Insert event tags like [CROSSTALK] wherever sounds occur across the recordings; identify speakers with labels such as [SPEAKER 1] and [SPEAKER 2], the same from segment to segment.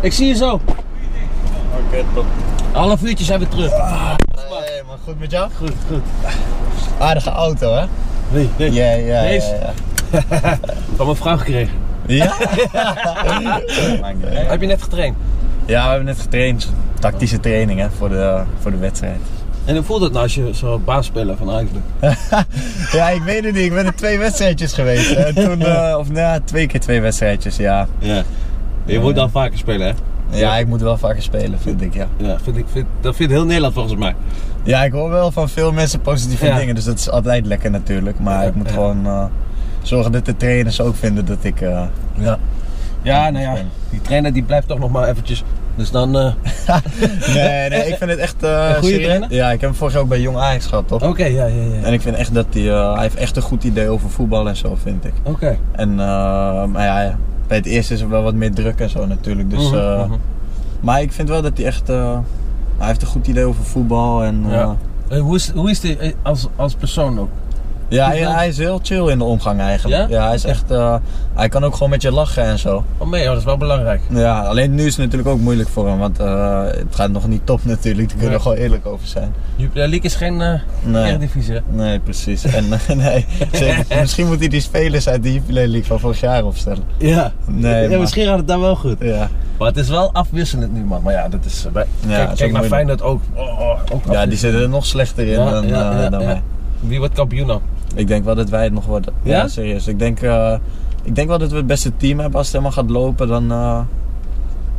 [SPEAKER 1] Ik zie je zo.
[SPEAKER 2] Oké, top.
[SPEAKER 1] Half uurtje zijn we terug.
[SPEAKER 2] Hey, maar goed met jou?
[SPEAKER 1] Ah, Goed, goed.
[SPEAKER 2] Aardige auto, hè?
[SPEAKER 1] Nee, nee.
[SPEAKER 2] Ja, ja,
[SPEAKER 1] Deze?
[SPEAKER 2] ja.
[SPEAKER 1] Ik heb een vraag gekregen. [LAUGHS]
[SPEAKER 2] Ja? [LAUGHS] Ja?
[SPEAKER 1] Heb je net getraind?
[SPEAKER 2] Ja, we hebben net getraind. Tactische training, hè, voor de, voor de wedstrijd.
[SPEAKER 1] En hoe voelt het nou als je zo baas speler van Ajax bent?
[SPEAKER 2] Ja, ik weet het niet. Ik ben er twee wedstrijdjes geweest. En toen,
[SPEAKER 1] [LAUGHS]
[SPEAKER 2] eh, of nou, ja, twee keer twee wedstrijdjes, ja.
[SPEAKER 1] Ja. Je moet dan vaker spelen, hè?
[SPEAKER 2] Ja, ik moet wel vaker spelen, vind ik, ja.
[SPEAKER 1] Ja, vind ik, vind, dat vindt heel Nederland volgens mij.
[SPEAKER 2] Ja, ik hoor wel van veel mensen positieve
[SPEAKER 1] Ja.
[SPEAKER 2] dingen, dus dat is altijd lekker natuurlijk. Maar
[SPEAKER 1] Ja,
[SPEAKER 2] ik moet
[SPEAKER 1] ja.
[SPEAKER 2] gewoon eh, zorgen dat de trainers ook vinden dat
[SPEAKER 1] [LAUGHS]
[SPEAKER 2] ik... eh, ja.
[SPEAKER 1] Ja, nou ja, die trainer die blijft toch nog maar eventjes. Dus dan. [LAUGHS] eh,
[SPEAKER 2] Nee, nee, ik vind het echt... eh,
[SPEAKER 1] Een goede
[SPEAKER 2] serieus.
[SPEAKER 1] trainer?
[SPEAKER 2] Ja, ik heb hem vorig jaar ook bij Jong Ajax gehad, toch?
[SPEAKER 1] Oké, ja, ja, ja.
[SPEAKER 2] En ik vind echt dat hij, eh, hij heeft echt een goed idee over voetbal en zo, vind ik.
[SPEAKER 1] Oké.
[SPEAKER 2] En, eh, maar ja, bij het eerste is er wel wat meer druk en zo natuurlijk. Dus,
[SPEAKER 1] Mhm,
[SPEAKER 2] eh,
[SPEAKER 1] mhm.
[SPEAKER 2] Maar ik vind wel dat hij echt, eh, hij heeft een goed idee over voetbal en... eh,
[SPEAKER 1] Ja. Eh, hoe is, hoe is die eh, als, als persoon ook?
[SPEAKER 2] Ja,
[SPEAKER 1] Hoe-
[SPEAKER 2] hij, hij is heel chill in de omgang eigenlijk.
[SPEAKER 1] Ja?
[SPEAKER 2] Ja, hij is echt, eh, hij kan ook gewoon met je lachen en zo.
[SPEAKER 1] Oh mee, dat is wel belangrijk.
[SPEAKER 2] Ja, alleen nu is het natuurlijk ook moeilijk voor hem, want eh, het gaat nog niet top natuurlijk. Daar kunnen we
[SPEAKER 1] Nee.
[SPEAKER 2] gewoon eerlijk over zijn.
[SPEAKER 1] Jupiler League is geen eh
[SPEAKER 2] Nee,
[SPEAKER 1] Eredivisie, hè?
[SPEAKER 2] nee precies. En, [LAUGHS] nee,
[SPEAKER 1] [LAUGHS]
[SPEAKER 2] zeker. misschien moet hij die spelers uit de Jupiler League van vorig jaar opstellen.
[SPEAKER 1] Ja.
[SPEAKER 2] Nee,
[SPEAKER 1] ja
[SPEAKER 2] maar-
[SPEAKER 1] misschien gaat het daar wel goed.
[SPEAKER 2] Ja,
[SPEAKER 1] Maar het is wel afwisselend nu, man. Maar ja, dat is... eh, Bij...
[SPEAKER 2] Ja,
[SPEAKER 1] kijk
[SPEAKER 2] dat is
[SPEAKER 1] kijk
[SPEAKER 2] ook
[SPEAKER 1] naar
[SPEAKER 2] moeilijk.
[SPEAKER 1] Feyenoord ook. Oh, oh, ook
[SPEAKER 2] ja die
[SPEAKER 1] afwisselend.
[SPEAKER 2] zitten er nog slechter in
[SPEAKER 1] Ja,
[SPEAKER 2] dan,
[SPEAKER 1] ja,
[SPEAKER 2] eh,
[SPEAKER 1] ja,
[SPEAKER 2] dan
[SPEAKER 1] ja.
[SPEAKER 2] wij.
[SPEAKER 1] Wie wordt kampioen dan?
[SPEAKER 2] Ik denk wel dat wij het nog worden.
[SPEAKER 1] Ja?
[SPEAKER 2] Ja, serieus. Ik denk, eh, ik denk wel dat we het beste team hebben. Als het helemaal gaat lopen, dan... eh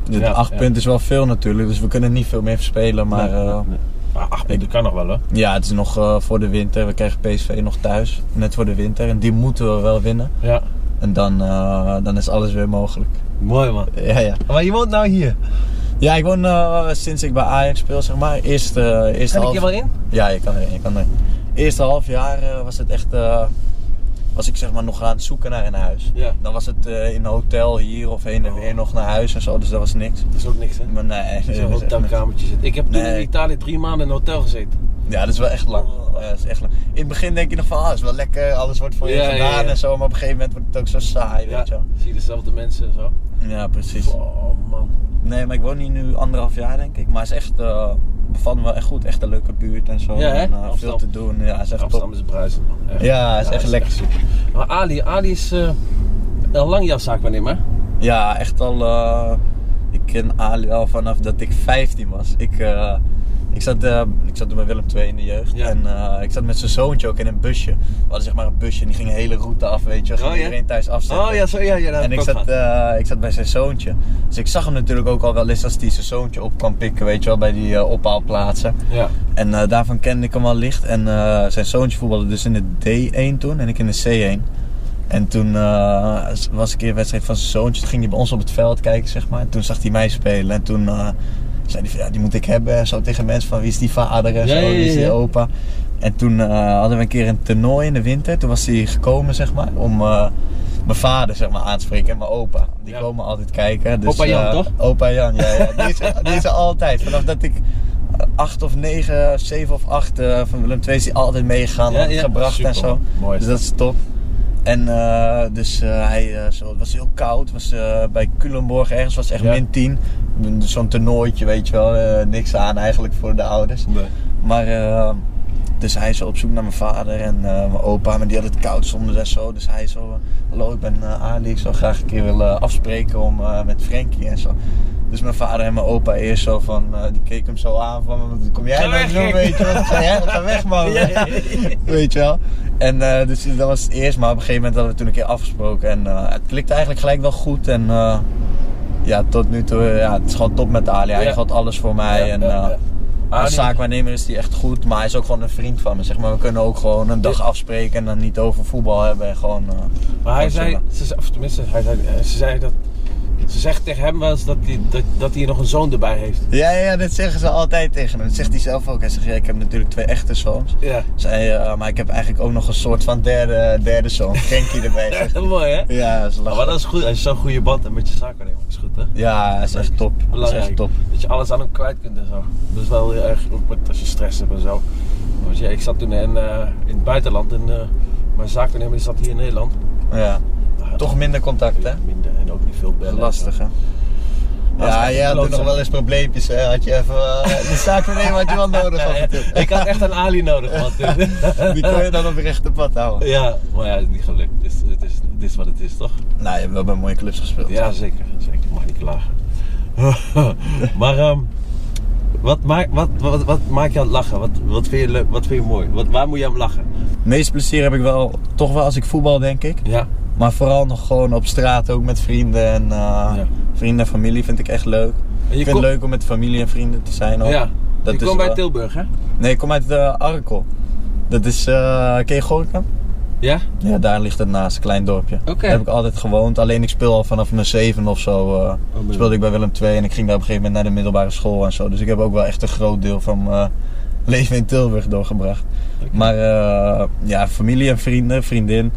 [SPEAKER 2] dit
[SPEAKER 1] Ja,
[SPEAKER 2] acht
[SPEAKER 1] ja.
[SPEAKER 2] punten is wel veel natuurlijk, dus we kunnen niet veel meer verspelen. Maar
[SPEAKER 1] Nee,
[SPEAKER 2] eh,
[SPEAKER 1] nee. Maar Ah, ach, dat kan nog wel, hoor.
[SPEAKER 2] ja, het is nog eh, voor de winter. We krijgen PSV nog thuis, net voor de winter. En die moeten we wel winnen.
[SPEAKER 1] Ja.
[SPEAKER 2] En dan, eh, dan is alles weer mogelijk.
[SPEAKER 1] Mooi, man.
[SPEAKER 2] Ja, ja.
[SPEAKER 1] Maar je woont nou hier.
[SPEAKER 2] ja ik woon eh, sinds ik bij Ajax speel, zeg maar. Eerst, eh eerst
[SPEAKER 1] Kan ik je wel in?
[SPEAKER 2] Ja, je kan erin, je kan erin. Eerste half jaar eh, was het echt, eh, was ik zeg maar nog aan het zoeken naar een huis.
[SPEAKER 1] Ja. Oh.
[SPEAKER 2] Dan was het eh, in een hotel hier of heen en weer nog naar huis en zo, dus dat was niks.
[SPEAKER 1] Dat is ook niks, hè?
[SPEAKER 2] Maar nee, dat
[SPEAKER 1] Zo'n
[SPEAKER 2] was echt niks.
[SPEAKER 1] hotelkamertje zit. Ik heb toen
[SPEAKER 2] Nee.
[SPEAKER 1] in Italië drie maanden in een hotel gezeten.
[SPEAKER 2] Ja, dat is wel echt lang.
[SPEAKER 1] Oh.
[SPEAKER 2] Ja, dat is echt lang. In het begin denk je nog van, ah, is wel lekker, alles wordt voor je
[SPEAKER 1] Ja, ja,
[SPEAKER 2] gedaan
[SPEAKER 1] ja.
[SPEAKER 2] en zo, maar op een gegeven moment wordt het ook zo saai, weet je wel.
[SPEAKER 1] zie je dezelfde mensen en zo.
[SPEAKER 2] Ja, precies.
[SPEAKER 1] Oh, man.
[SPEAKER 2] Nee, maar ik woon hier nu anderhalf jaar denk ik, maar het is echt, eh bevalt me wel echt goed, echt een leuke buurt en zo.
[SPEAKER 1] Ja, hè?
[SPEAKER 2] en, eh, veel
[SPEAKER 1] Amsterdam.
[SPEAKER 2] te doen, ja, is echt top.
[SPEAKER 1] Amsterdam is bruisend, man. Echt.
[SPEAKER 2] Ja, is echt lekker.
[SPEAKER 1] super. maar Ali, Ali is eh, al lang jouw zaak hè?
[SPEAKER 2] Ja, echt al. eh, ik ken Ali al vanaf dat ik 15 was. Ik, eh, ik, zat, eh, ik zat toen bij Willem II in de jeugd.
[SPEAKER 1] Ja.
[SPEAKER 2] En eh, ik zat met zijn zoontje ook in een busje. We hadden zeg maar een busje en die ging de hele route af, weet je. Ging
[SPEAKER 1] Oh, ja?
[SPEAKER 2] iedereen thuis afzetten.
[SPEAKER 1] Oh ja, zo, ja, ja. dat heb
[SPEAKER 2] En ik
[SPEAKER 1] ook
[SPEAKER 2] zat,
[SPEAKER 1] gehad.
[SPEAKER 2] eh, ik zat bij zijn zoontje. Dus ik zag hem natuurlijk ook al wel eens als hij zijn zoontje op kwam pikken, weet je wel, bij die eh, ophaalplaatsen.
[SPEAKER 1] ja.
[SPEAKER 2] En eh, daarvan kende ik hem al licht. En eh, zijn zoontje voetbalde dus in de D1 toen en ik in de C1. En toen eh, was een keer een wedstrijd van zijn zoontje. Toen ging hij bij ons op het veld kijken, zeg maar. En toen zag hij mij spelen. En toen eh, zei hij van, ja, die moet ik hebben. En Zo tegen mensen van, wie is die vader
[SPEAKER 1] Ja,
[SPEAKER 2] en zo,
[SPEAKER 1] ja, ja,
[SPEAKER 2] wie is die
[SPEAKER 1] ja.
[SPEAKER 2] opa. En toen eh, hadden we een keer een toernooi in de winter. Toen was hij gekomen, zeg maar, om eh, mijn vader, zeg maar, aan te spreken. En mijn opa. Die
[SPEAKER 1] Ja.
[SPEAKER 2] komen altijd kijken. Dus,
[SPEAKER 1] Opa Jan,
[SPEAKER 2] eh,
[SPEAKER 1] toch?
[SPEAKER 2] Opa Jan, ja. ja. Die, is, die
[SPEAKER 1] [LAUGHS]
[SPEAKER 2] is er altijd. Vanaf dat ik acht of negen, zeven of acht eh, van Willem II is hij altijd meegegaan.
[SPEAKER 1] Ja, ja.
[SPEAKER 2] Gebracht
[SPEAKER 1] Super,
[SPEAKER 2] en zo.
[SPEAKER 1] man. Mooi is
[SPEAKER 2] Dus dat is top. En eh, dus eh, hij, eh, zo, het was heel koud. Was, eh, bij Culemborg ergens was het echt
[SPEAKER 1] Ja.
[SPEAKER 2] min 10. Zo'n toernooitje, weet je wel. eh, niks aan eigenlijk voor de ouders. Maar eh, dus hij is op zoek naar mijn vader en eh, mijn opa, maar die had het koud zonder en zo. Dus hij zo, eh, hallo ik ben eh, Ali, ik zou graag een keer willen afspreken om, eh, met Frankie en zo. Dus mijn vader en mijn opa eerst zo van, eh, die keken hem zo aan van, wat kom jij
[SPEAKER 1] Ga
[SPEAKER 2] nou
[SPEAKER 1] weg,
[SPEAKER 2] doen,
[SPEAKER 1] gek.
[SPEAKER 2] weet je wel. Ga, jij-
[SPEAKER 1] [LAUGHS]
[SPEAKER 2] ga weg man,
[SPEAKER 1] Ja, ja,
[SPEAKER 2] [LAUGHS] weet je wel. En eh, dus dat was het eerst, maar op een gegeven moment hadden we toen een keer afgesproken en eh, het klikte eigenlijk gelijk wel goed en... eh, ja, tot nu toe, eh, ja, het is gewoon top met Ali. Hij
[SPEAKER 1] Ja.
[SPEAKER 2] gaat alles voor mij. en, eh, als zaakwaarnemer is hij echt goed, maar hij is ook gewoon een vriend van me. Zeg maar. We kunnen ook gewoon een dag afspreken en dan niet over voetbal hebben. En gewoon, eh,
[SPEAKER 1] Maar hij
[SPEAKER 2] Oh,
[SPEAKER 1] zei,
[SPEAKER 2] sorry.
[SPEAKER 1] ze, ze- of tenminste, hij zei, eh, ze zei dat. Ze zegt tegen hem wel eens dat hij, dat, dat hij nog een zoon erbij heeft.
[SPEAKER 2] ja, ja, ja, dat zeggen ze altijd tegen hem. Dat zegt hij zelf ook. Hij zegt, ja, ik heb natuurlijk twee echte zoons.
[SPEAKER 1] [LAUGHS] Ja.
[SPEAKER 2] Zei, eh, maar ik heb eigenlijk ook nog een soort van derde, derde zoon, Genki erbij. zegt hij.
[SPEAKER 1] Mooi hè?
[SPEAKER 2] [LAUGHS] Ja, dat is
[SPEAKER 1] Nou, maar
[SPEAKER 2] lachen.
[SPEAKER 1] dat is goed. Als je zo'n goede band hebt met je zaakwaarnemer, is goed hè?
[SPEAKER 2] Ja, dat is echt top. Dat is
[SPEAKER 1] Belangrijk.
[SPEAKER 2] echt top.
[SPEAKER 1] Dat je alles aan hem kwijt kunt en zo. Dat is wel heel erg ook met, als je stress hebt en zo. Want ja, ik zat toen in, eh, in het buitenland en eh, mijn zaakwaarnemer die zat hier in Nederland.
[SPEAKER 2] Ja.
[SPEAKER 1] Nou,
[SPEAKER 2] Toch minder contact, hè?
[SPEAKER 1] minder en ook niet veel bellen.
[SPEAKER 2] Lastig, hè? Ja, jij had toen nog wel
[SPEAKER 1] eens.
[SPEAKER 2] eens probleempjes. Hè? Had je even eh, de zaak van had je wel nodig. af en toe. [LAUGHS]
[SPEAKER 1] ik had echt een Ali nodig, man. toen. [LAUGHS]
[SPEAKER 2] Die kon je dan op het rechte pad houden.
[SPEAKER 1] ja, maar ja, het is niet gelukt. Het is, het is, het is wat het is, toch?
[SPEAKER 2] Nou, je hebt wel bij mooie clubs gespeeld.
[SPEAKER 1] Ja, zeker. zeker. Ik mag niet klagen. [LAUGHS] maar ehm, wat, maakt, wat, wat, wat maakt je aan het lachen? Wat, wat vind je leuk? Wat vind je mooi? Wat, waar moet je aan lachen?
[SPEAKER 2] Het meeste plezier heb ik wel, toch wel als ik voetbal denk ik.
[SPEAKER 1] Ja,
[SPEAKER 2] Maar vooral nog gewoon op straat ook met vrienden. En eh,
[SPEAKER 1] Ja.
[SPEAKER 2] vrienden en familie vind ik echt leuk.
[SPEAKER 1] je
[SPEAKER 2] ik vind
[SPEAKER 1] komt-
[SPEAKER 2] het leuk om met familie en vrienden te zijn. Ook.
[SPEAKER 1] ja.
[SPEAKER 2] dat
[SPEAKER 1] je
[SPEAKER 2] is
[SPEAKER 1] komt bij
[SPEAKER 2] wel-
[SPEAKER 1] Tilburg, hè?
[SPEAKER 2] Nee, ik kom uit eh Arkel. Dat is, eh ken je Gorinchem?
[SPEAKER 1] Ja?
[SPEAKER 2] Ja, daar ligt het naast, een klein dorpje.
[SPEAKER 1] Oké.
[SPEAKER 2] Daar heb ik altijd gewoond. Alleen ik speel al vanaf mijn zeven of zo. eh,
[SPEAKER 1] ben je-
[SPEAKER 2] speelde ik bij Willem II en ik ging daar op een gegeven moment naar de middelbare school en zo. Dus ik heb ook wel echt een groot deel van mijn [LAUGHS] leven in Tilburg doorgebracht.
[SPEAKER 1] Oké.
[SPEAKER 2] Maar eh, ja, familie en vrienden, vriendin.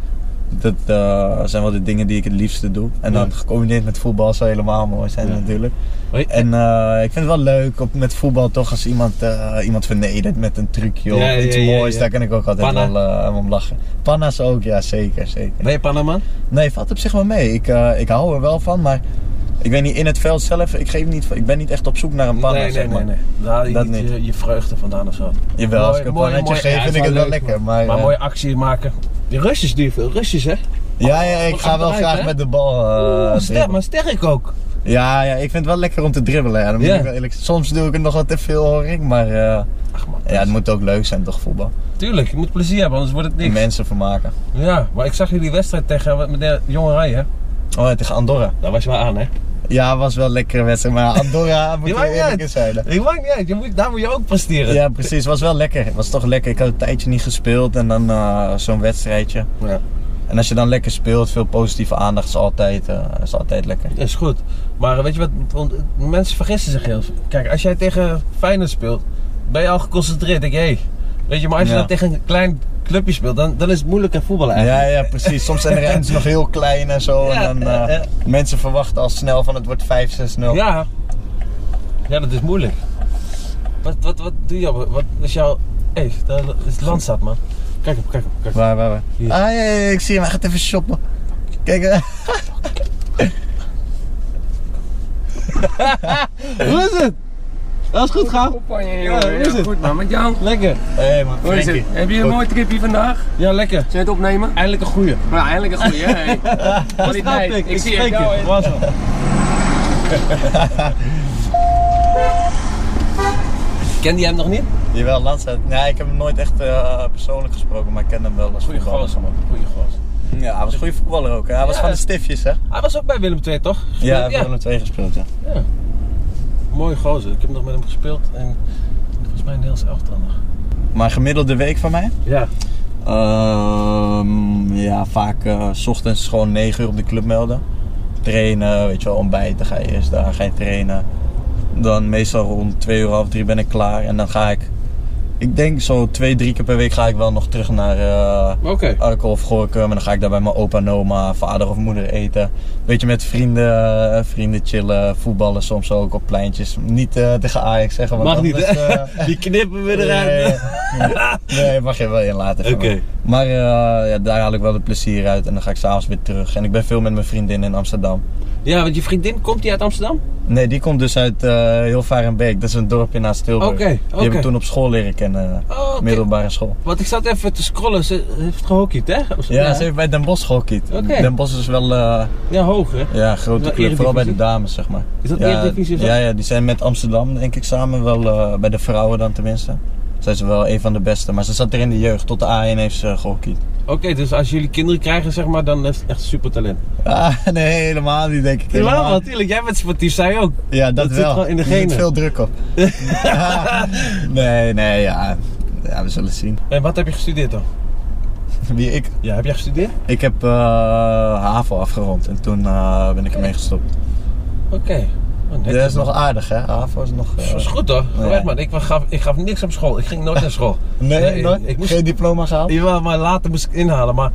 [SPEAKER 2] Dat eh, zijn wel de dingen die ik het liefste doe. En dan
[SPEAKER 1] Ja.
[SPEAKER 2] gecombineerd met voetbal zou helemaal mooi zijn
[SPEAKER 1] Ja.
[SPEAKER 2] natuurlijk.
[SPEAKER 1] Hoi.
[SPEAKER 2] En eh, ik vind het wel leuk op, met voetbal toch als iemand, eh, iemand vernedert met een trucje of
[SPEAKER 1] Ja, ja,
[SPEAKER 2] iets
[SPEAKER 1] ja,
[SPEAKER 2] moois.
[SPEAKER 1] ja.
[SPEAKER 2] Daar kan ik ook altijd
[SPEAKER 1] Panna.
[SPEAKER 2] wel eh, om lachen. Panna's ook, ja zeker, zeker.
[SPEAKER 1] Ben je Panaman?
[SPEAKER 2] Nee, valt op zich wel mee. Ik, eh, ik hou er wel van, maar ik weet niet, in het veld zelf, ik, geef niet, ik ben niet echt op zoek naar een panna,
[SPEAKER 1] nee, nee,
[SPEAKER 2] zeg
[SPEAKER 1] nee,
[SPEAKER 2] maar.
[SPEAKER 1] nee. Daar haal je
[SPEAKER 2] Dat
[SPEAKER 1] niet eh,
[SPEAKER 2] niet.
[SPEAKER 1] Je, je vreugde vandaan of zo.
[SPEAKER 2] Jawel, als ik een
[SPEAKER 1] Mooi, mooi,
[SPEAKER 2] pannetje
[SPEAKER 1] mooi.
[SPEAKER 2] geef,
[SPEAKER 1] Ja,
[SPEAKER 2] vind
[SPEAKER 1] is
[SPEAKER 2] ik het wel
[SPEAKER 1] leuk,
[SPEAKER 2] lekker.
[SPEAKER 1] Maar,
[SPEAKER 2] Maar, eh,
[SPEAKER 1] mooie actie maken. Die Russisch duur veel. Russisch, hè?
[SPEAKER 2] ja, ja, ik
[SPEAKER 1] Wat
[SPEAKER 2] ga wel
[SPEAKER 1] achteruit,
[SPEAKER 2] graag
[SPEAKER 1] hè?
[SPEAKER 2] met de bal. eh,
[SPEAKER 1] Oeh, sterk,
[SPEAKER 2] dribbelen.
[SPEAKER 1] maar sterk ook.
[SPEAKER 2] ja, ja, ik vind het wel lekker om te dribbelen. Ja, dan moet
[SPEAKER 1] Ja.
[SPEAKER 2] ik wel eerlijk, soms doe ik het nog wat te veel, hoor ik. Maar eh,
[SPEAKER 1] Ach man,
[SPEAKER 2] ja, het moet ook leuk zijn, toch, voetbal.
[SPEAKER 1] tuurlijk. Je moet plezier hebben, anders wordt het niks.
[SPEAKER 2] Mensen vermaken.
[SPEAKER 1] Ja, maar ik zag jullie wedstrijd tegen wat, met de jonge rij, hè?
[SPEAKER 2] Oh, tegen Andorra.
[SPEAKER 1] Daar was je wel aan, hè?
[SPEAKER 2] Ja, was wel een lekkere wedstrijd, maar Andorra [LAUGHS] moet
[SPEAKER 1] Die
[SPEAKER 2] je
[SPEAKER 1] maakt niet
[SPEAKER 2] eerlijk in
[SPEAKER 1] uit.
[SPEAKER 2] zijn. hè.
[SPEAKER 1] Die maakt niet uit. Je moet, daar moet je ook presteren.
[SPEAKER 2] [LAUGHS] Ja, precies. was wel lekker. was toch lekker. Ik had een tijdje niet gespeeld en dan eh, zo'n wedstrijdje.
[SPEAKER 1] Ja,
[SPEAKER 2] En als je dan lekker speelt, veel positieve aandacht is altijd, eh, is altijd lekker.
[SPEAKER 1] dat is goed. Maar eh, weet je wat? want, eh, mensen vergissen zich heel veel. Kijk, als jij tegen Feyenoord speelt, ben je al geconcentreerd. Denk je, hé. Weet je, maar als je
[SPEAKER 2] Ja.
[SPEAKER 1] dan tegen een klein clubje speelt, dan, dan is het moeilijker voetballen
[SPEAKER 2] Ja,
[SPEAKER 1] eigenlijk.
[SPEAKER 2] ja, precies. Soms [LAUGHS] zijn de rentes nog heel klein en zo.
[SPEAKER 1] Ja,
[SPEAKER 2] en dan, eh,
[SPEAKER 1] eh, eh.
[SPEAKER 2] mensen verwachten al snel van het wordt 5-6-0.
[SPEAKER 1] Ja. Ja, dat is moeilijk. Wat, wat, wat doe je? Wat is jouw... Hé, daar is Landstad, man. Kijk op, kijk op, kijk op.
[SPEAKER 2] Waar, waar, waar?
[SPEAKER 1] Hier.
[SPEAKER 2] Ah, ja, ja, ja, ik zie hem. Hij gaat even shoppen. Kijk, eh,
[SPEAKER 1] Hoe is het? Dat is goed, gaaf.
[SPEAKER 3] Opanje,
[SPEAKER 1] Ja,
[SPEAKER 3] jongen.
[SPEAKER 1] hoe
[SPEAKER 3] Ja,
[SPEAKER 1] is het?
[SPEAKER 3] goed, man. Met jou?
[SPEAKER 1] Lekker.
[SPEAKER 2] hey, man,
[SPEAKER 3] Hoe is het?
[SPEAKER 2] Frankie.
[SPEAKER 3] Heb je een
[SPEAKER 2] Goed.
[SPEAKER 3] mooi tripje vandaag? Zijn
[SPEAKER 1] Ja, lekker.
[SPEAKER 3] we het opnemen?
[SPEAKER 1] Eindelijk een goeie.
[SPEAKER 3] Nou, eindelijk een goeie, hè? [LAUGHS] Hey. Kwaliteit.
[SPEAKER 1] Schaapik,
[SPEAKER 3] Ik zie
[SPEAKER 1] nou, spreek
[SPEAKER 3] het jou,
[SPEAKER 1] je.
[SPEAKER 3] hè.
[SPEAKER 1] Was wel. [LAUGHS] Kende jij hem nog niet?
[SPEAKER 2] Jawel, Landstad. Nee, ik heb hem nooit echt eh, persoonlijk gesproken, maar ik ken hem wel als
[SPEAKER 1] Goeie
[SPEAKER 2] voetballer.
[SPEAKER 1] gozer, man. Goeie gozer.
[SPEAKER 2] Ja, hij was een goede voetballer ook. hè. Hij was
[SPEAKER 1] Ja.
[SPEAKER 2] van de stiftjes, hè?
[SPEAKER 1] Hij was ook bij Willem II, toch?
[SPEAKER 2] Ja, hij
[SPEAKER 1] ja.
[SPEAKER 2] heeft Willem 2 gespeeld, ja.
[SPEAKER 1] Ja. Mooi gozer. Ik heb nog met hem gespeeld en volgens mij een heel elftal nog.
[SPEAKER 2] Maar gemiddelde week van mij?
[SPEAKER 1] Ja.
[SPEAKER 2] Ehm, ja, vaak eh, s ochtends gewoon 9 uur op de club melden. Trainen, weet je wel, ontbijten ga je eerst daar, ga je trainen. Dan meestal rond 2 uur, half 3 ben ik klaar. En dan ga ik, ik denk zo 2, 3 keer per week ga ik wel nog terug naar eh
[SPEAKER 1] Oké.
[SPEAKER 2] Arkel of Gorkum. En dan ga ik daar bij mijn opa en oma, vader of moeder eten. Beetje met vrienden, eh, vrienden chillen, voetballen soms ook op pleintjes. Niet eh, tegen Ajax zeggen, want
[SPEAKER 1] Mag niet,
[SPEAKER 2] anders,
[SPEAKER 1] hè?
[SPEAKER 2] eh,
[SPEAKER 1] Die knippen we
[SPEAKER 2] Nee,
[SPEAKER 1] eruit. [LAUGHS]
[SPEAKER 2] Nee, mag je wel in laten. van
[SPEAKER 1] Oké.
[SPEAKER 2] mij. Maar eh, ja, daar haal ik wel het plezier uit en dan ga ik s'avonds weer terug. En ik ben veel met mijn vriendin in Amsterdam.
[SPEAKER 1] Ja, want je vriendin, komt die uit Amsterdam?
[SPEAKER 2] Nee, die komt dus uit eh Hilvarenbeek. Dat is een dorpje naast Tilburg.
[SPEAKER 1] Oké, oké.
[SPEAKER 2] Die heb ik toen op school leren kennen. eh,
[SPEAKER 1] Oh, oké.
[SPEAKER 2] Middelbare school.
[SPEAKER 1] Want ik zat even te scrollen. Ze heeft gehockeyd, hè?
[SPEAKER 2] Ja, ze heeft bij Den Bosch gehockeyd.
[SPEAKER 1] Oké.
[SPEAKER 2] Den Bosch is wel eh
[SPEAKER 1] Ja, hoog, hè?
[SPEAKER 2] ja, een grote
[SPEAKER 1] Wel
[SPEAKER 2] club, vooral bij de
[SPEAKER 1] Eredivisie?
[SPEAKER 2] dames zeg maar.
[SPEAKER 1] Is dat
[SPEAKER 2] ja,
[SPEAKER 1] Eredivisie of zo?
[SPEAKER 2] ja, ja, die zijn met Amsterdam denk ik samen wel, eh, bij de vrouwen dan tenminste. Zijn ze wel een van de beste. Maar ze zat er in de jeugd, tot de A1 heeft ze eh, gehockeyd.
[SPEAKER 1] Oké, dus als jullie kinderen krijgen, zeg maar, dan is het echt super talent.
[SPEAKER 2] Ah, nee, helemaal niet denk ik.
[SPEAKER 1] Helemaal, natuurlijk. Jij bent sportief, zij ook.
[SPEAKER 2] Ja, dat,
[SPEAKER 1] Dat zit
[SPEAKER 2] wel.
[SPEAKER 1] gewoon in de
[SPEAKER 2] Er zit
[SPEAKER 1] genen.
[SPEAKER 2] veel druk
[SPEAKER 1] [LAUGHS]
[SPEAKER 2] op. nee, nee, ja. Ja, we zullen zien.
[SPEAKER 1] En wat heb je gestudeerd dan?
[SPEAKER 2] Wie ik?
[SPEAKER 1] Ja, heb jij gestudeerd?
[SPEAKER 2] Ik heb eh HAVO afgerond en toen eh, ben ik ermee gestopt.
[SPEAKER 1] Oké. Oh,
[SPEAKER 2] Dat
[SPEAKER 1] netjes,
[SPEAKER 2] is
[SPEAKER 1] man.
[SPEAKER 2] nog aardig, hè? HAVO is nog... eh,
[SPEAKER 1] Dat is goed hoor.
[SPEAKER 2] Nee.
[SPEAKER 1] Echt, man, ik gaf, ik gaf niks op school. Ik ging nooit naar [LAUGHS] school. Dus, eh,
[SPEAKER 2] Nee, nooit?
[SPEAKER 1] Ik, ik moest,
[SPEAKER 2] Geen diploma gehaald?
[SPEAKER 1] jawel, maar later moest ik inhalen. [LAUGHS] Maar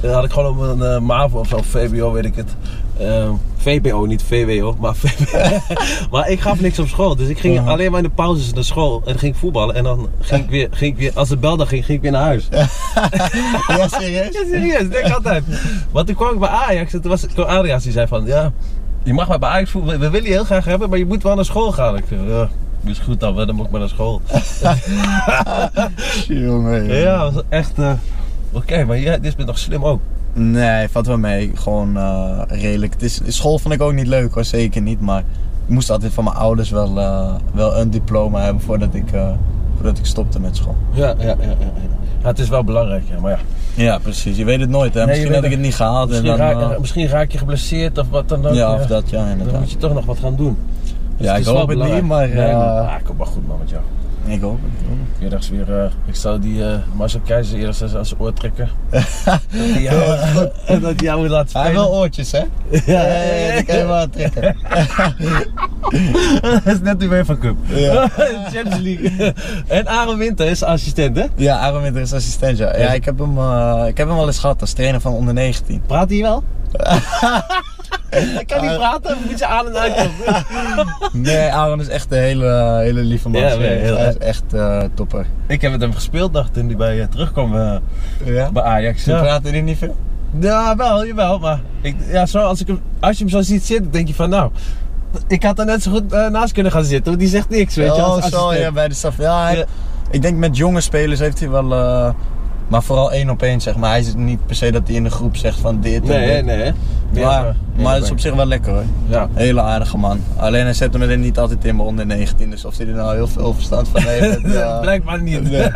[SPEAKER 1] dan had ik gewoon op een eh, MAVO of zo, VBO, weet ik het. Ehm, VBO, niet VWO, maar VBO. [LAUGHS] maar ik gaf niks op school. Dus ik ging
[SPEAKER 2] Mhm.
[SPEAKER 1] alleen maar in de pauzes naar school. En dan ging ik voetballen. En dan ging ik weer, ging ik weer als de bel dan ging, ging ik weer naar huis.
[SPEAKER 2] Ja, serieus?
[SPEAKER 1] Ja, serieus, denk ik altijd. Want toen kwam ik bij Ajax en toen was, kwam Adriaans die zei van, ja, Je mag maar bij Ajax voetballen. We willen je heel graag hebben, maar je moet wel naar school gaan. Ik zeg, ja, is goed dan, dan moet ik maar naar school.
[SPEAKER 2] Jongen. jongen.
[SPEAKER 1] [LAUGHS] Ja, dat was echt... eh, Oké, maar jij, dit bent nog slim ook.
[SPEAKER 2] Nee, valt wel mee. Gewoon eh, redelijk. Het is, school vond ik ook niet leuk hoor, zeker niet. Maar ik moest altijd van mijn ouders wel, eh, wel een diploma hebben voordat ik, eh, voordat ik stopte met school.
[SPEAKER 1] Ja, ja, ja. ja, ja. Ja, het is wel belangrijk, ja, maar ja.
[SPEAKER 2] Ja, precies. Je weet het nooit hè.
[SPEAKER 1] Nee, je
[SPEAKER 2] misschien
[SPEAKER 1] weet
[SPEAKER 2] had ik het niet gehaald. En
[SPEAKER 1] Misschien,
[SPEAKER 2] dan,
[SPEAKER 1] raak,
[SPEAKER 2] eh,
[SPEAKER 1] misschien raak je geblesseerd of wat dan ook.
[SPEAKER 2] ja,
[SPEAKER 1] ja.
[SPEAKER 2] of dat, ja
[SPEAKER 1] Dan moet
[SPEAKER 2] inderdaad.
[SPEAKER 1] je toch nog wat gaan doen. Dus
[SPEAKER 2] Ja, ik
[SPEAKER 1] is wel
[SPEAKER 2] hoop het niet,
[SPEAKER 1] belangrijk.
[SPEAKER 2] maar,
[SPEAKER 1] Nee,
[SPEAKER 2] eh,
[SPEAKER 1] ah, kom maar goed, man, met jou.
[SPEAKER 2] Ik hoop het.
[SPEAKER 1] Eerdags weer, eh, ik zou die eh, Marcel Keizer eerst eens aan zijn oor [LAUGHS] trekken. dat hij jou, [LAUGHS] dat hij jou moet laten spelen.
[SPEAKER 2] Hij heeft wel oortjes hè?
[SPEAKER 1] Ja,
[SPEAKER 2] Ja, ja, ja, die kan je wel aantrekken.
[SPEAKER 1] [LAUGHS] dat is net de UEFA Cup.
[SPEAKER 2] Ja.
[SPEAKER 1] [LAUGHS] Champions League. [LAUGHS] en Aaron Winter is assistent, hè?
[SPEAKER 2] Ja, Aaron Winter is assistent, ja. Ja, ik heb hem, eh, ik heb hem wel eens gehad als trainer van onder 19.
[SPEAKER 1] Praat hij [LAUGHS] wel? Ik kan niet
[SPEAKER 2] Ah.
[SPEAKER 1] praten, moet je aan en uit komen.
[SPEAKER 2] Nee, Aaron is echt een hele, hele lieve man.
[SPEAKER 1] Ja,
[SPEAKER 2] serieus.
[SPEAKER 1] nee, heel
[SPEAKER 2] Hij is
[SPEAKER 1] erg.
[SPEAKER 2] echt eh, topper.
[SPEAKER 1] ik heb met hem gespeeld, dacht toen hij bij eh, terugkwam eh,
[SPEAKER 2] Ja?
[SPEAKER 1] bij Ajax.
[SPEAKER 2] Ze
[SPEAKER 1] Ja.
[SPEAKER 2] praten hier niet veel.
[SPEAKER 1] Ja, wel, jawel. Maar ik, ja, zo, als, ik hem, als je hem zo ziet zitten, denk je van nou... Ik had er net zo goed eh, naast kunnen gaan zitten, want die zegt niks, weet je.
[SPEAKER 2] oh,
[SPEAKER 1] als
[SPEAKER 2] zo,
[SPEAKER 1] assistent.
[SPEAKER 2] ja, bij de staf. Ja, hij-
[SPEAKER 1] Ja.
[SPEAKER 2] ik denk met jonge spelers heeft hij wel... eh, maar vooral één op één, zeg maar. Hij is niet per se dat hij in de groep zegt van dit en
[SPEAKER 1] Nee,
[SPEAKER 2] dit.
[SPEAKER 1] nee, hè.
[SPEAKER 2] Maar, maar het
[SPEAKER 1] dat
[SPEAKER 2] is op zich wel lekker hoor.
[SPEAKER 1] Ja.
[SPEAKER 2] Hele aardige man. Alleen hij zet hem er niet altijd in bij onder 19. Dus of hij er nou heel veel verstand van
[SPEAKER 1] [LAUGHS]
[SPEAKER 2] heeft. dat, ja.
[SPEAKER 1] Blijkbaar niet.
[SPEAKER 2] [LAUGHS] Nee.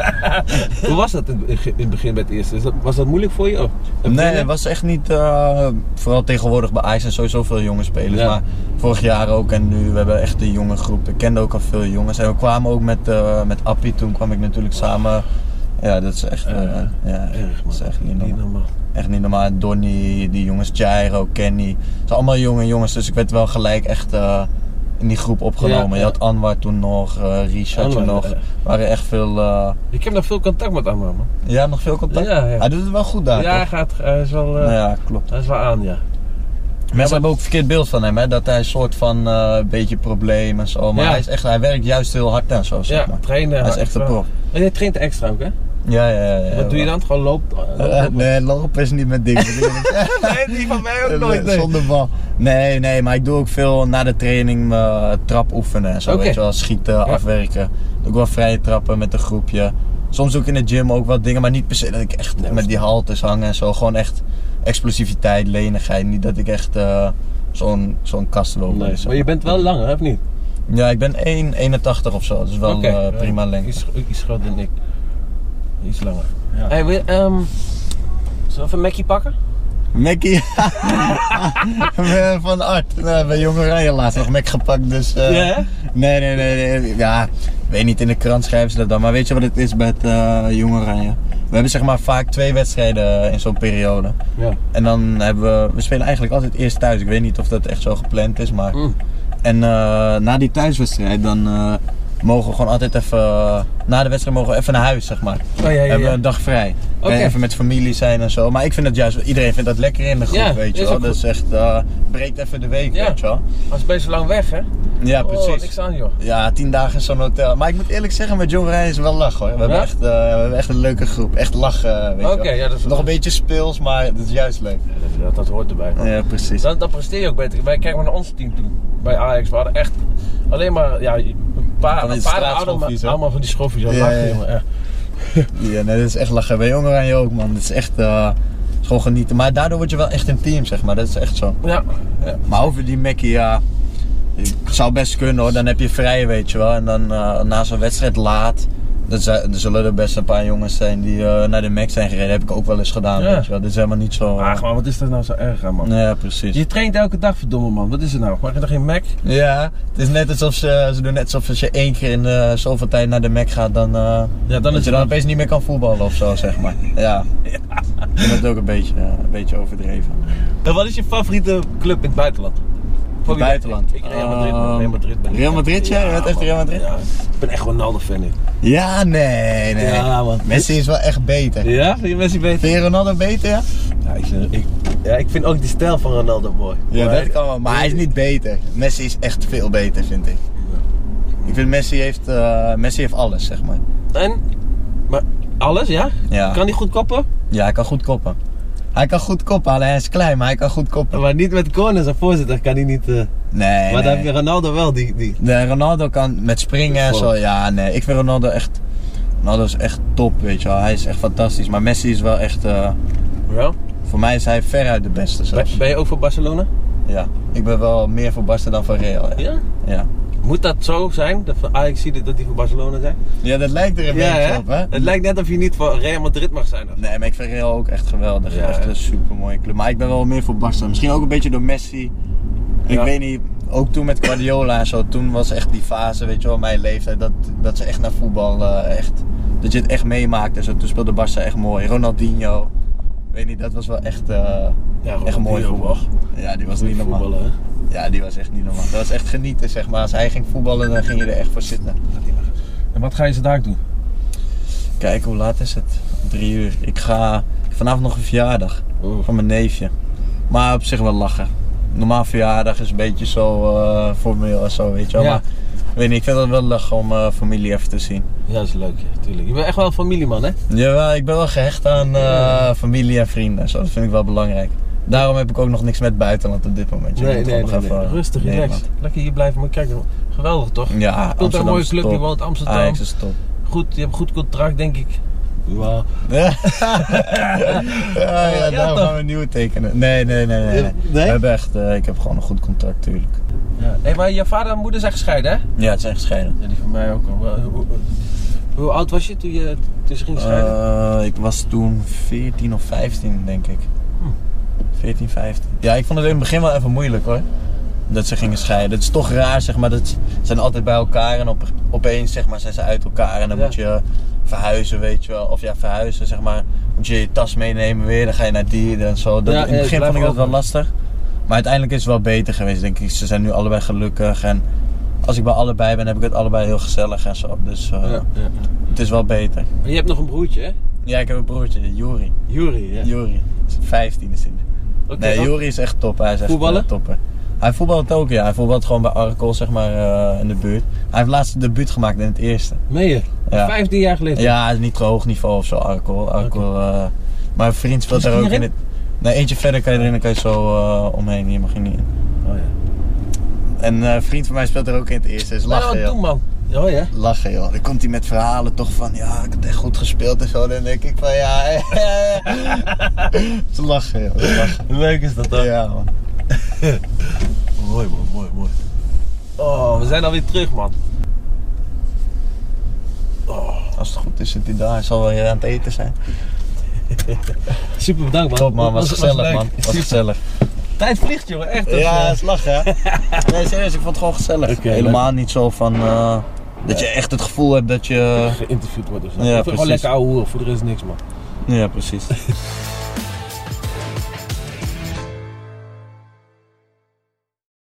[SPEAKER 1] Hoe was dat in, in het begin bij het eerste? Is dat- was dat moeilijk voor je? Of, heb
[SPEAKER 2] Nee,
[SPEAKER 1] je-
[SPEAKER 2] het was echt niet. eh, vooral tegenwoordig bij Ajax zijn sowieso veel jonge spelers.
[SPEAKER 1] Ja.
[SPEAKER 2] Maar vorig jaar ook en nu. We hebben echt een jonge groep. Ik kende ook al veel jongens. En we kwamen ook met, eh, met Appie. Toen kwam ik natuurlijk samen. Ja, dat is echt. eh,
[SPEAKER 1] Eh,
[SPEAKER 2] ja,
[SPEAKER 1] Erg,
[SPEAKER 2] dat
[SPEAKER 1] man.
[SPEAKER 2] is echt niet normaal.
[SPEAKER 1] normaal.
[SPEAKER 2] Echt niet normaal. Donny, die jongens, Jairo, Kenny. Het zijn allemaal jonge jongens. Dus ik werd wel gelijk echt eh, in die groep opgenomen.
[SPEAKER 1] Ja,
[SPEAKER 2] Je
[SPEAKER 1] ja.
[SPEAKER 2] had Anwar toen nog, eh, Richard toen
[SPEAKER 1] Anwar,
[SPEAKER 2] nog.
[SPEAKER 1] ja.
[SPEAKER 2] Er waren echt veel. eh,
[SPEAKER 1] Ik heb nog veel contact met Amram, man.
[SPEAKER 2] ja, nog veel contact.
[SPEAKER 1] Ja, ja.
[SPEAKER 2] Hij doet het wel goed daar.
[SPEAKER 1] ja, hij,
[SPEAKER 2] toch?
[SPEAKER 1] gaat, hij, is wel, eh,
[SPEAKER 2] Nou ja, klopt.
[SPEAKER 1] hij is wel aan, ja.
[SPEAKER 2] Mensen hebben ook een verkeerd beeld van hem, hè? dat hij een soort van eh, een beetje probleem en zo. Maar
[SPEAKER 1] Ja.
[SPEAKER 2] hij, is echt, hij werkt juist heel hard en zo, zeg
[SPEAKER 1] Ja,
[SPEAKER 2] maar.
[SPEAKER 1] trainen.
[SPEAKER 2] Hij is
[SPEAKER 1] hard,
[SPEAKER 2] echt een
[SPEAKER 1] wel.
[SPEAKER 2] prof.
[SPEAKER 1] En jij traint extra ook, hè?
[SPEAKER 2] Ja, ja, ja. ja,
[SPEAKER 1] Wat doe je dan? Gewoon loopt?
[SPEAKER 2] Eh, [LAUGHS] nee, lopen is niet
[SPEAKER 1] [LAUGHS]
[SPEAKER 2] mijn ding.
[SPEAKER 1] nee, die van mij
[SPEAKER 2] Zonder bal. Nee, nee, maar ik doe ook veel na de training eh, trap oefenen en zo.
[SPEAKER 1] Oké.
[SPEAKER 2] Weet je wel, schieten, afwerken. Doe ik wel vrije trappen met een groepje. Soms doe ik in de gym ook wat dingen, maar niet per se dat ik echt
[SPEAKER 1] Nee,
[SPEAKER 2] met die haltes hang en zo. Gewoon echt explosiviteit, lenigheid. Niet dat ik echt eh, zo'n zo'n kast loop.
[SPEAKER 1] Nee, maar je bent wel lang, hè, of niet?
[SPEAKER 2] Ja, ik ben 1,81 of zo. Dat is wel
[SPEAKER 1] Oké.
[SPEAKER 2] eh, prima lengte.
[SPEAKER 1] Iets, iets groter dan ik. Iets langer. Hey, wil je, ehm, zullen we even een Mackie pakken?
[SPEAKER 2] [LAUGHS] Mackie van Art. Nou, bij Jong Oranje laatst nog Mac gepakt, dus... eh,
[SPEAKER 1] Ja, hè?
[SPEAKER 2] nee, nee, nee, nee. Ja, weet niet, in de krant schrijven ze dat dan. Maar weet je wat het is met eh Jong Oranje? We hebben zeg maar vaak twee wedstrijden in zo'n periode.
[SPEAKER 1] Ja.
[SPEAKER 2] En dan hebben we... We spelen eigenlijk altijd eerst thuis. Ik weet niet of dat echt zo gepland is, maar...
[SPEAKER 1] Mm.
[SPEAKER 2] En eh, na die thuiswedstrijd dan eh, mogen we gewoon altijd even... eh, na de wedstrijd mogen we even naar huis, zeg maar.
[SPEAKER 1] Oh, ja, ja,
[SPEAKER 2] Hebben we
[SPEAKER 1] ja.
[SPEAKER 2] een dag vrij. Kan je
[SPEAKER 1] Oké.
[SPEAKER 2] Even met familie zijn en zo. Maar ik vind dat juist... Iedereen vindt dat lekker in de groep,
[SPEAKER 1] Ja,
[SPEAKER 2] weet je
[SPEAKER 1] is
[SPEAKER 2] wel.
[SPEAKER 1] ook
[SPEAKER 2] Dat is echt... eh, breekt even de week,
[SPEAKER 1] Ja.
[SPEAKER 2] weet je wel.
[SPEAKER 1] Als best lang weg, hè?
[SPEAKER 2] Ja,
[SPEAKER 1] Oh,
[SPEAKER 2] precies.
[SPEAKER 1] niks aan, joh.
[SPEAKER 2] ja, tien dagen in zo'n hotel. Maar ik moet eerlijk zeggen, met John Rijn is het wel lach hoor. We, hebben
[SPEAKER 1] Ja?
[SPEAKER 2] echt, eh, we hebben echt een leuke groep. Echt lachen, eh, weet je
[SPEAKER 1] Oké,
[SPEAKER 2] wel.
[SPEAKER 1] ja, dat is-
[SPEAKER 2] Nog een beetje speels, maar dat is juist leuk.
[SPEAKER 1] Dat, dat hoort erbij.
[SPEAKER 2] Ja, precies.
[SPEAKER 1] Dan, dan presteer je ook beter. Wij kijken maar naar ons team toen. Bij Ajax we hadden echt alleen maar ja, een
[SPEAKER 2] Van
[SPEAKER 1] paar,
[SPEAKER 2] die
[SPEAKER 1] een paar oude,
[SPEAKER 2] straatschoffies, hè?
[SPEAKER 1] ma- allemaal van die schoffies. Ja,
[SPEAKER 2] Ja,
[SPEAKER 1] lachen,
[SPEAKER 2] ja.
[SPEAKER 1] jongen. Ja.
[SPEAKER 2] Ja, nee, dat is echt lachen. Bij Jong Oranje ook, man. Dat is echt... eh, is gewoon genieten. Maar daardoor word je wel echt een team, zeg maar. Dat is echt zo.
[SPEAKER 1] Ja. ja.
[SPEAKER 2] Maar over die Mackie, ja. Het zou best kunnen hoor, dan heb je vrij, weet je wel. En dan eh, na zo'n wedstrijd laat. Dan zi- er zullen er best een paar jongens zijn die eh, naar de Mac zijn gereden. heb ik ook wel eens gedaan,
[SPEAKER 1] Ja.
[SPEAKER 2] weet je wel. Dit is helemaal niet zo.
[SPEAKER 1] Ach, man, wat is dat nou zo erg aan, man?
[SPEAKER 2] Nee, ja, precies.
[SPEAKER 1] Je traint elke dag, verdomme man. Wat is er nou? Maak je toch geen Mac?
[SPEAKER 2] Ja, het is net alsof ze, ze doen net alsof als je één keer in eh, zoveel tijd naar de Mac gaat, dan. eh,
[SPEAKER 1] Ja, dan
[SPEAKER 2] dat
[SPEAKER 1] is
[SPEAKER 2] je
[SPEAKER 1] het
[SPEAKER 2] dan
[SPEAKER 1] nog-
[SPEAKER 2] opeens niet meer kan voetballen of zo, zeg
[SPEAKER 1] [LAUGHS]
[SPEAKER 2] maar. Ja. Ik vind dat ook een beetje, eh, een beetje overdreven.
[SPEAKER 1] En wat is je favoriete club in het buitenland? Voor wie
[SPEAKER 2] buitenland? Ehm,
[SPEAKER 1] Ik Real Madrid, man. Real Madrid ben ik.
[SPEAKER 2] Real Madrid, ja? Je bent echt
[SPEAKER 1] man.
[SPEAKER 2] Real Madrid?
[SPEAKER 1] Ja. Ik ben echt Ronaldo-fan nu.
[SPEAKER 2] Ja, nee, nee.
[SPEAKER 1] Ja, man.
[SPEAKER 2] Messi is wel echt beter.
[SPEAKER 1] Ja? Vind je Messi beter?
[SPEAKER 2] Vind je Ronaldo beter, ja?
[SPEAKER 1] Ja ik, vind- ik, ja, ik vind ook die stijl van Ronaldo mooi.
[SPEAKER 2] Ja,
[SPEAKER 1] Maar-
[SPEAKER 2] dat kan wel. Maar hij is niet beter. Messi is echt veel beter, vind ik. Ik vind Messi heeft, eh, Messi heeft alles, zeg maar.
[SPEAKER 1] En? Maar alles, ja?
[SPEAKER 2] Ja.
[SPEAKER 1] Kan die goed koppen?
[SPEAKER 2] Ja, hij kan goed koppen. Hij Hij kan goed kophalen, hij is klein, maar hij kan goed koppen.
[SPEAKER 1] Maar niet met corners en voorzitter kan hij niet. eh,
[SPEAKER 2] Nee,
[SPEAKER 1] maar
[SPEAKER 2] nee.
[SPEAKER 1] dan heb je Ronaldo wel die. die.
[SPEAKER 2] Nee, Ronaldo kan met springen en
[SPEAKER 1] Goh.
[SPEAKER 2] zo. Ja, nee, ik vind Ronaldo echt. Ronaldo is echt top, weet je wel. Hij is echt fantastisch. Maar Messi is wel echt. eh,
[SPEAKER 1] Wel?
[SPEAKER 2] voor mij is hij veruit de beste zelfs.
[SPEAKER 1] Ben, ben je ook voor Barcelona?
[SPEAKER 2] Ja. Ik ben wel meer voor Barca dan voor Real. Ja.
[SPEAKER 1] Ja.
[SPEAKER 2] Ja,
[SPEAKER 1] Moet dat zo zijn? Dat van Ajax ziet dat die voor Barcelona zijn?
[SPEAKER 2] Ja, dat lijkt er een beetje
[SPEAKER 1] hè?
[SPEAKER 2] op, hè?
[SPEAKER 1] Het lijkt net of je niet voor Real Madrid mag zijn. of-
[SPEAKER 2] Nee, maar ik vind Real ook echt geweldig.
[SPEAKER 1] Ja,
[SPEAKER 2] echt
[SPEAKER 1] hè?
[SPEAKER 2] een super mooie club. Maar ik ben wel meer voor Barca. Misschien ook een beetje door Messi. Ik
[SPEAKER 1] Ja.
[SPEAKER 2] weet niet, ook toen met Guardiola en zo, toen was echt die fase, weet je wel, mijn leeftijd, dat, dat ze echt naar voetbal, eh, echt, dat je het echt meemaakt en zo. Toen speelde Barca echt mooi. Ronaldinho, ik weet niet, dat was wel echt, eh, echt
[SPEAKER 1] Ronaldinho
[SPEAKER 2] mooi voetbal.
[SPEAKER 1] was-
[SPEAKER 2] Ja, die was niet normaal.
[SPEAKER 1] voetballen, hè?
[SPEAKER 2] Ja, die was echt niet normaal. Dat was echt genieten, zeg maar. Als hij ging voetballen, dan ging je er echt voor zitten.
[SPEAKER 1] En wat ga je ze daar doen?
[SPEAKER 2] Kijk, hoe laat is het? Drie uur. Ik ga vanavond nog een verjaardag.
[SPEAKER 1] Oh.
[SPEAKER 2] Van mijn neefje. Maar op zich wel lachen. Normaal verjaardag is een beetje zo eh, formeel en zo, weet je wel.
[SPEAKER 1] Ja.
[SPEAKER 2] Maar ik weet niet, ik vind het wel lachen om eh, familie even te zien.
[SPEAKER 1] Ja, dat is leuk, ja, tuurlijk. Je bent echt wel een familieman, hè?
[SPEAKER 2] Jawel, ik ben wel gehecht aan eh, familie en vrienden en zo. Dat vind ik wel belangrijk. Daarom heb ik ook nog niks met buitenland op dit moment. Ik moet gewoon nog even, eh,
[SPEAKER 1] Rustig, relaxed.
[SPEAKER 2] Nederland.
[SPEAKER 1] Lekker hier blijven, maar kijk, geweldig toch? Je
[SPEAKER 2] Ja,
[SPEAKER 1] Speelt bij een
[SPEAKER 2] Amsterdam
[SPEAKER 1] mooie
[SPEAKER 2] is
[SPEAKER 1] club,
[SPEAKER 2] top.
[SPEAKER 1] je woont in Amsterdam.
[SPEAKER 2] Ajax is top. [LAUGHS]
[SPEAKER 1] Goed, je hebt een goed contract, denk ik. Wow.
[SPEAKER 2] Ja, ja, ja,
[SPEAKER 1] Ja,
[SPEAKER 2] daarom
[SPEAKER 1] toch?
[SPEAKER 2] gaan we een nieuwe tekenen. Nee, nee, nee. nee, nee.
[SPEAKER 1] Nee?
[SPEAKER 2] We hebben echt, eh, ik heb gewoon een goed contract, tuurlijk.
[SPEAKER 1] Ja. Hé, maar je vader en moeder zijn gescheiden, hè?
[SPEAKER 2] Ja, het zijn gescheiden.
[SPEAKER 1] Ja, die van mij ook al. Hoe, hoe- hoe oud was je toen, je toen ze ging scheiden?
[SPEAKER 2] Eh, ik was toen 14 of 15, denk ik.
[SPEAKER 1] Hm.
[SPEAKER 2] 14, 15. Ja, ik vond het in het begin wel even moeilijk hoor. Dat ze gingen scheiden. Het is toch raar, zeg maar. Dat ze zijn altijd bij elkaar en op, opeens zeg maar, zijn ze uit elkaar. En dan
[SPEAKER 1] Ja.
[SPEAKER 2] moet je verhuizen, weet je wel. Of ja, verhuizen, zeg maar. Moet je je tas meenemen weer, dan ga je naar die en zo. Dat,
[SPEAKER 1] Ja,
[SPEAKER 2] in het
[SPEAKER 1] ja,
[SPEAKER 2] begin
[SPEAKER 1] blijf
[SPEAKER 2] vond ik dat wel
[SPEAKER 1] over.
[SPEAKER 2] lastig. Maar uiteindelijk is het wel beter geweest, denk ik. Ze zijn nu allebei gelukkig. En als ik bij allebei ben, heb ik het allebei heel gezellig en zo. Dus eh,
[SPEAKER 1] Ja, ja.
[SPEAKER 2] het is wel beter.
[SPEAKER 1] Maar je hebt nog een broertje, hè?
[SPEAKER 2] Ja, ik heb een broertje, Juri.
[SPEAKER 1] Juri, ja.
[SPEAKER 2] Juri, 15 is hij.
[SPEAKER 1] Oké,
[SPEAKER 2] Nee,
[SPEAKER 1] dan-
[SPEAKER 2] Juri is echt top. Hij is echt
[SPEAKER 1] Voetballen?
[SPEAKER 2] eh, topper. Hij voetbalt ook, ja. Hij voetbalt gewoon bij Arkel, zeg maar, eh, in de buurt. Hij heeft laatst een debuut gemaakt in het eerste.
[SPEAKER 1] Meen je?
[SPEAKER 2] Ja.
[SPEAKER 1] 15 jaar geleden?
[SPEAKER 2] Ja, hij is niet te hoog niveau of zo, Arkel. Arkel eh, maar een vriend speelt
[SPEAKER 1] Is
[SPEAKER 2] daar
[SPEAKER 1] die
[SPEAKER 2] ook in het...
[SPEAKER 1] erin?
[SPEAKER 2] Nee, eentje verder kan je erin, dan kan je zo eh, omheen. Hier mag je niet in.
[SPEAKER 1] Oh, ja.
[SPEAKER 2] En eh, een vriend van mij speelt er ook in het eerste. Dus
[SPEAKER 1] Nou,
[SPEAKER 2] lachen,
[SPEAKER 1] wat
[SPEAKER 2] joh.
[SPEAKER 1] doen, man. Oh, ja?
[SPEAKER 2] lachen, joh. Dan komt hij met verhalen toch van, ja, ik heb echt goed gespeeld en zo. Dan denk ik van, ja, [LAUGHS] Ze lachen, joh. Ze lachen.
[SPEAKER 1] Leuk is dat, dan.
[SPEAKER 2] Ja, man.
[SPEAKER 1] Mooi man, mooi, mooi. Oh, we zijn alweer terug man.
[SPEAKER 2] Als het goed is, zit hij daar. Hij zal wel weer aan het eten zijn.
[SPEAKER 1] Super bedankt man.
[SPEAKER 2] Top, man. Was, gezellig,
[SPEAKER 1] leuk.
[SPEAKER 2] man. Was
[SPEAKER 1] Super.
[SPEAKER 2] [LAUGHS] gezellig.
[SPEAKER 1] Tijd vliegt jongen, echt. Dat is,
[SPEAKER 2] Ja,
[SPEAKER 1] eh,
[SPEAKER 2] dat is [LAUGHS] lachen, hè? Nee, serieus, ik vond het gewoon gezellig.
[SPEAKER 1] Oké,
[SPEAKER 2] Helemaal niet zo van... eh, dat je echt het gevoel hebt dat je...
[SPEAKER 1] geïnterviewd wordt of zo.
[SPEAKER 2] Ja,
[SPEAKER 1] ik vind het
[SPEAKER 2] precies.
[SPEAKER 1] gewoon lekker ouwe hoeren, voor de rest niks man.
[SPEAKER 2] Ja, precies.